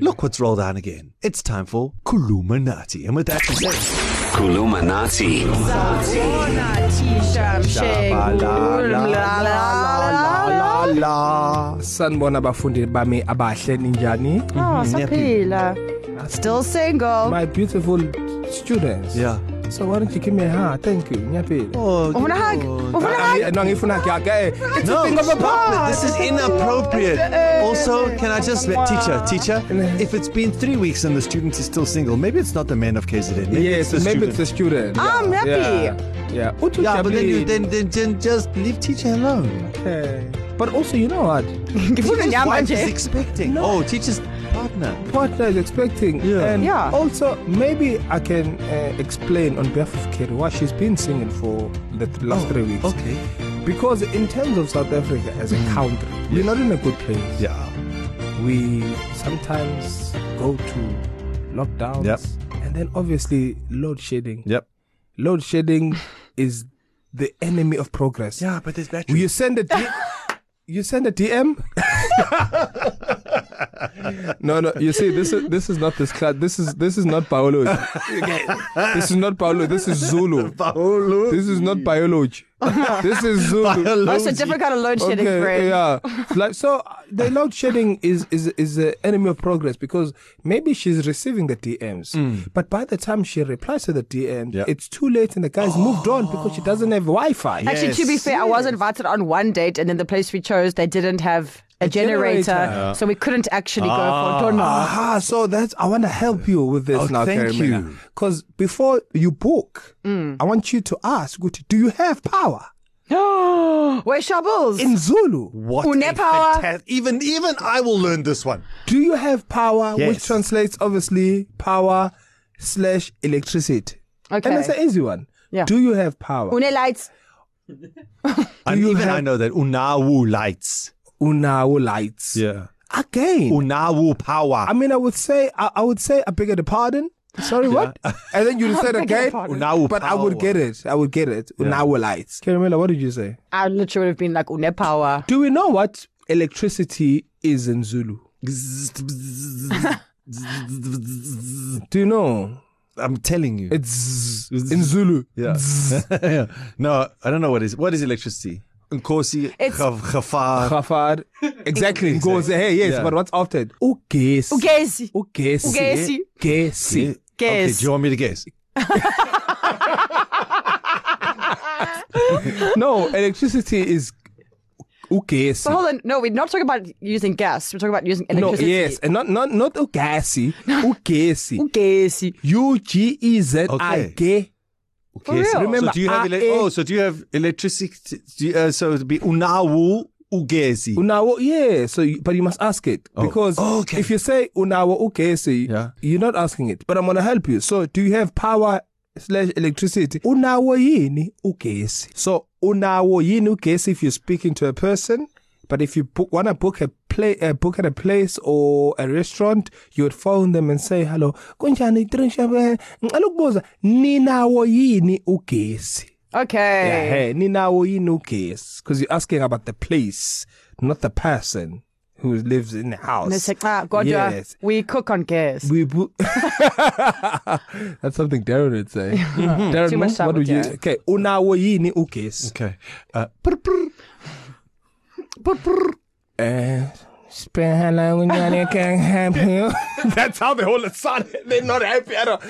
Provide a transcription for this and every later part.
Look what's rolled on again. It's time for Kuluminati. And with that you say, Kuluminati. la la. sanibona abafundi bami abahle ninjani Oh, saphila. Still single. my beautiful students Yeah. so why don't you give me a hug thank you ngiyaphila Oh, Ufuna a hug? Ufuna a hug? no ngifuna ngiyake it's No, a thing of a stop it. past this is inappropriate. Also, can I just teacher, teacher? If it's been three weeks and the student is still single, maybe it's not the man of KZN. Maybe yes it's the maybe student. it's a student I'm happy. yeah, yeah. Uthi yeah, but then you ujabulile. then, then then just leave teacher alone. Okay. but also you know what Ngifuna Teacher's nyama wife is nje. expecting. No. Oh, teacher's partner. partner is expecting Yeah. and Yeah. also maybe I can uh, explain on behalf of Kerry why she's been singing for the th- last Oh, three weeks Okay. Mm. because in terms of South Africa as a country we're not in a good place Yeah. we sometimes go to lockdowns Yep. and then obviously load shedding Yep. load shedding is the enemy of progress Yeah, but there's battery. you send a D- you send a DM. no, no. You see, this is this is not this class. This is this is not biology. Okay. This is not biology. This is Zulu. Paolo. This is not biology. This is Zulu. That's a different kind of load shedding, Okay, friend. yeah. It's Like so, uh, the load shedding is is is the enemy of progress because maybe she's receiving the DMs, mm. but by the time she replies to the DM, Yeah. it's too late and the guy's moved on because she doesn't have Wi-Fi. Yeah. Actually, to be Yes. fair, I was invited on one date, and then the place we chose, they didn't have a, A generator. Ah. generator, so we couldn't actually go for dinner. Aha, so that's I want to help you with this Oh, now, thank you. Because before you book, mm. I want you to ask, ukuthi, do you have power Where Shabbles? in Zulu? What? Une a power. fantas- even even I will learn this one. Do you have power, yes. Yes. which translates obviously power slash electricity? Okay. and that's an easy one. Yeah. Do you have power? Une lights. And you even have- I know that Unawu lights. Unawo lights. Yeah. Again, Unawu power. I mean, I would say, I, I would say, I beg your pardon. Sorry, what? And then you said beg your again, pardon. Unawo but I would power. get it. I would get it. Yeah. Unawo lights. Carmela, what did you say? I literally would have been like une power. Do we know what electricity is in Zulu? Do you know? I'm telling you. It's zzz in Zulu. Yeah. yeah. No, I don't know what is what is electricity. Nkosi, It's- khafar. Khafar. Exactly. Goes hey yes, Yeah. yeah. but what's after it? Ugesi. Ugezi. Ugesi. Ugesi. Ugesi. Okay, Guess. do you want me to guess? No, electricity is But ugesi. hold on, no, we're not talking about using gas. We're talking about using No, Oh, electricity. yes, and not not not ugasi. Ugesi. Ugezi. U G E Z I G. For real? Remember, Remember, so do you have ele- I- oh, so do you have electricity? Do you, uh, so it'd be unawu ugezi. Unawo, yeah. So, you, but you must ask it Oh. because Oh, okay. if you say unawo ukesi, Yeah. you're not asking it. But I'm gonna help you. So, do you have power slash electricity? Unawo yini ukesi? So, unawo yini ukesi if you're speaking to a person. But if you book, wanna book a play, a book at a place or a restaurant, you would phone them and say, "Hello, kunjani Trinshabe? Ngicela ukubuza ninawo yini ugesi?" Yeah, Okay. hey, ninawo yini ugesi? Because you're asking about the place, not the person who lives in the house. It's like, ah, Godja, Yes. we cook on gas. We bo- That's something Darren would say. Darren, Too much what- what would you? sabotage. Okay, unawo yini ugesi? Okay. Uh, brr, brr. Eh, spend how long when you can help you. That's how they all sound. They're not happy at all.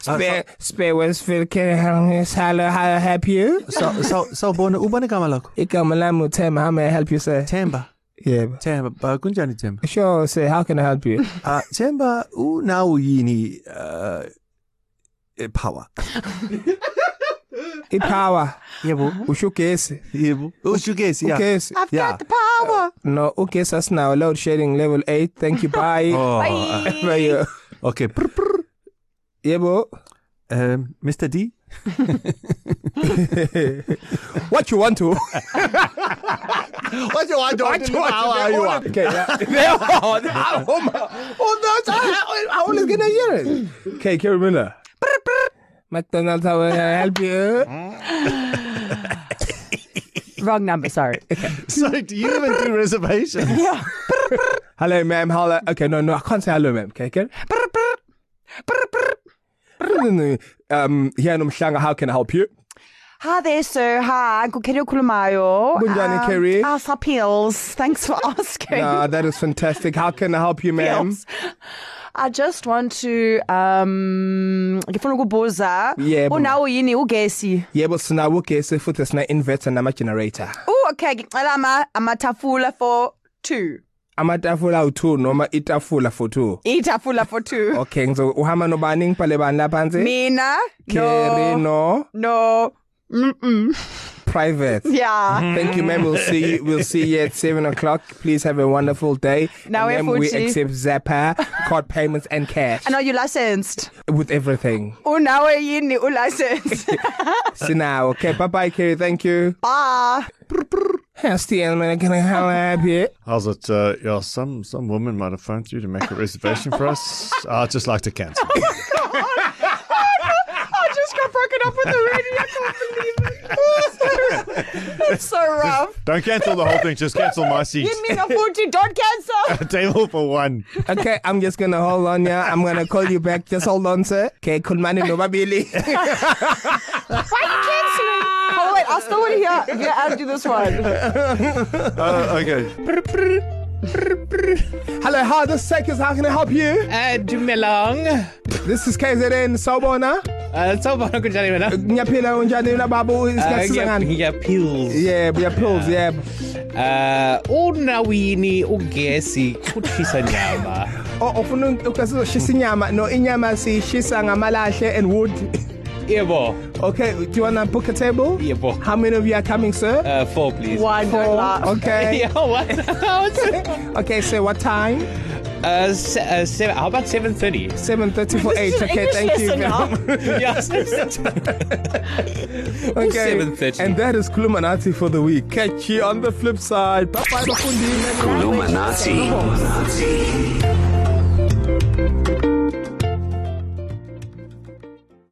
Spare, spare Westfield can help you. Hello, how help you? So so so bona ubone igama lakho? Igama lami uThemba. How may I help you, sir? Themba. Yeah. Themba, ba- kunjani Themba? Sure, sir. How can I help you? Uh, Themba, unawu yini uh, eh, power? Ipower. Uh-huh. Yebo. Ushugesi. Yebo. Ugezi, yeah. Ugesi. I've Yeah. got the power. No, ugesi us now. Load shedding level 8. Thank you. Bye. Oh, uh, Bye. Bye. okay. Brr, brr. Yebo. Um, Mr. D. What you want to? What do I do? What do I do? What do I do? Okay, yeah. they are. I, oh, my, oh, that's, I, I, I always gonna hear it. Okay, Carrie Miller. McDonald's, how will I help you? Wrong number, sorry. So do you even do reservations? yeah. Hello, ma'am. Hello. Okay, no, no, I can't say hello, ma'am. Okay, okay. um, here nomhlanga, how can I help you? Hi there, sir. Hi, Kukeri Kulumayo. Kunjani, Kerry? House appeals. Um, Thanks for asking. Ah, that is fantastic. How can I help you, ma'am? Yes. I just want to um ngifuna ukubuza Yebo. unawo yini ugesi Yebo sina ugesi futhi sina inverter nama generator. Oh okay ngicela ama amathafula for 2 Amatafula u2 noma itafula for 2. ithafula for 2 Okay, ngizo uhamba nobani ngibhale bani lapha phansi? mina Kerry no no no mm private. yeah Thank you, ma'am. We'll see you. We'll see you at seven o'clock. Please have a wonderful day. Now and we're ma'am, we 40. accept Zappa, card payments, and cash and are you licensed with everything. unawo yini ulicense So now, okay. Bye, bye, Kerry. Thank you. ah That's the end. Man, can I help you? How's it? Uh, yeah, some some woman might have phoned you to make a reservation for us. I'd just like to cancel. I just got broken up with already I can't believe it that's so rough Don't cancel the whole thing. Just cancel my seat. you mean afford to don't cancel A table for one. Okay, I'm just gonna hold on. Yeah, I'm gonna call you back. Just hold on, sir. Okay, cool money, no babili. Oh wait, I still want to hear hear Ab do this one. Uh, okay. Eh, Hello, hi. This is Sekus. How can I help you? Uh, Dumelang. This is KZN Sobona. Uh, sawubona kunjani wena? Ngiyaphila unjani na babu? Uh, Isikhathi ngiya- sangani? Ngiyaphils. Yeah, ngiyaphuza. Yeah. Uh, unawini ugesi kuthisa nyama. Oh, ufuna ukasizoshisa inyama no inyama siyishisa ngamalahle and wood. Yebo. Okay, do you want to book a table? Yebo. How many of you are coming, sir? Uh, four, please. One don't laugh. Okay. Yeah, what? Okay, so what time? uh, se- uh, seven, how about 7.30? 7:30 for 8. This is an English Okay, thank you. lesson, ma'am. huh? yeah. Okay. 7:30. And that is Kulumanati for the week. Catch you on the flip side. Bye bye, Bafundi. Kulumanati.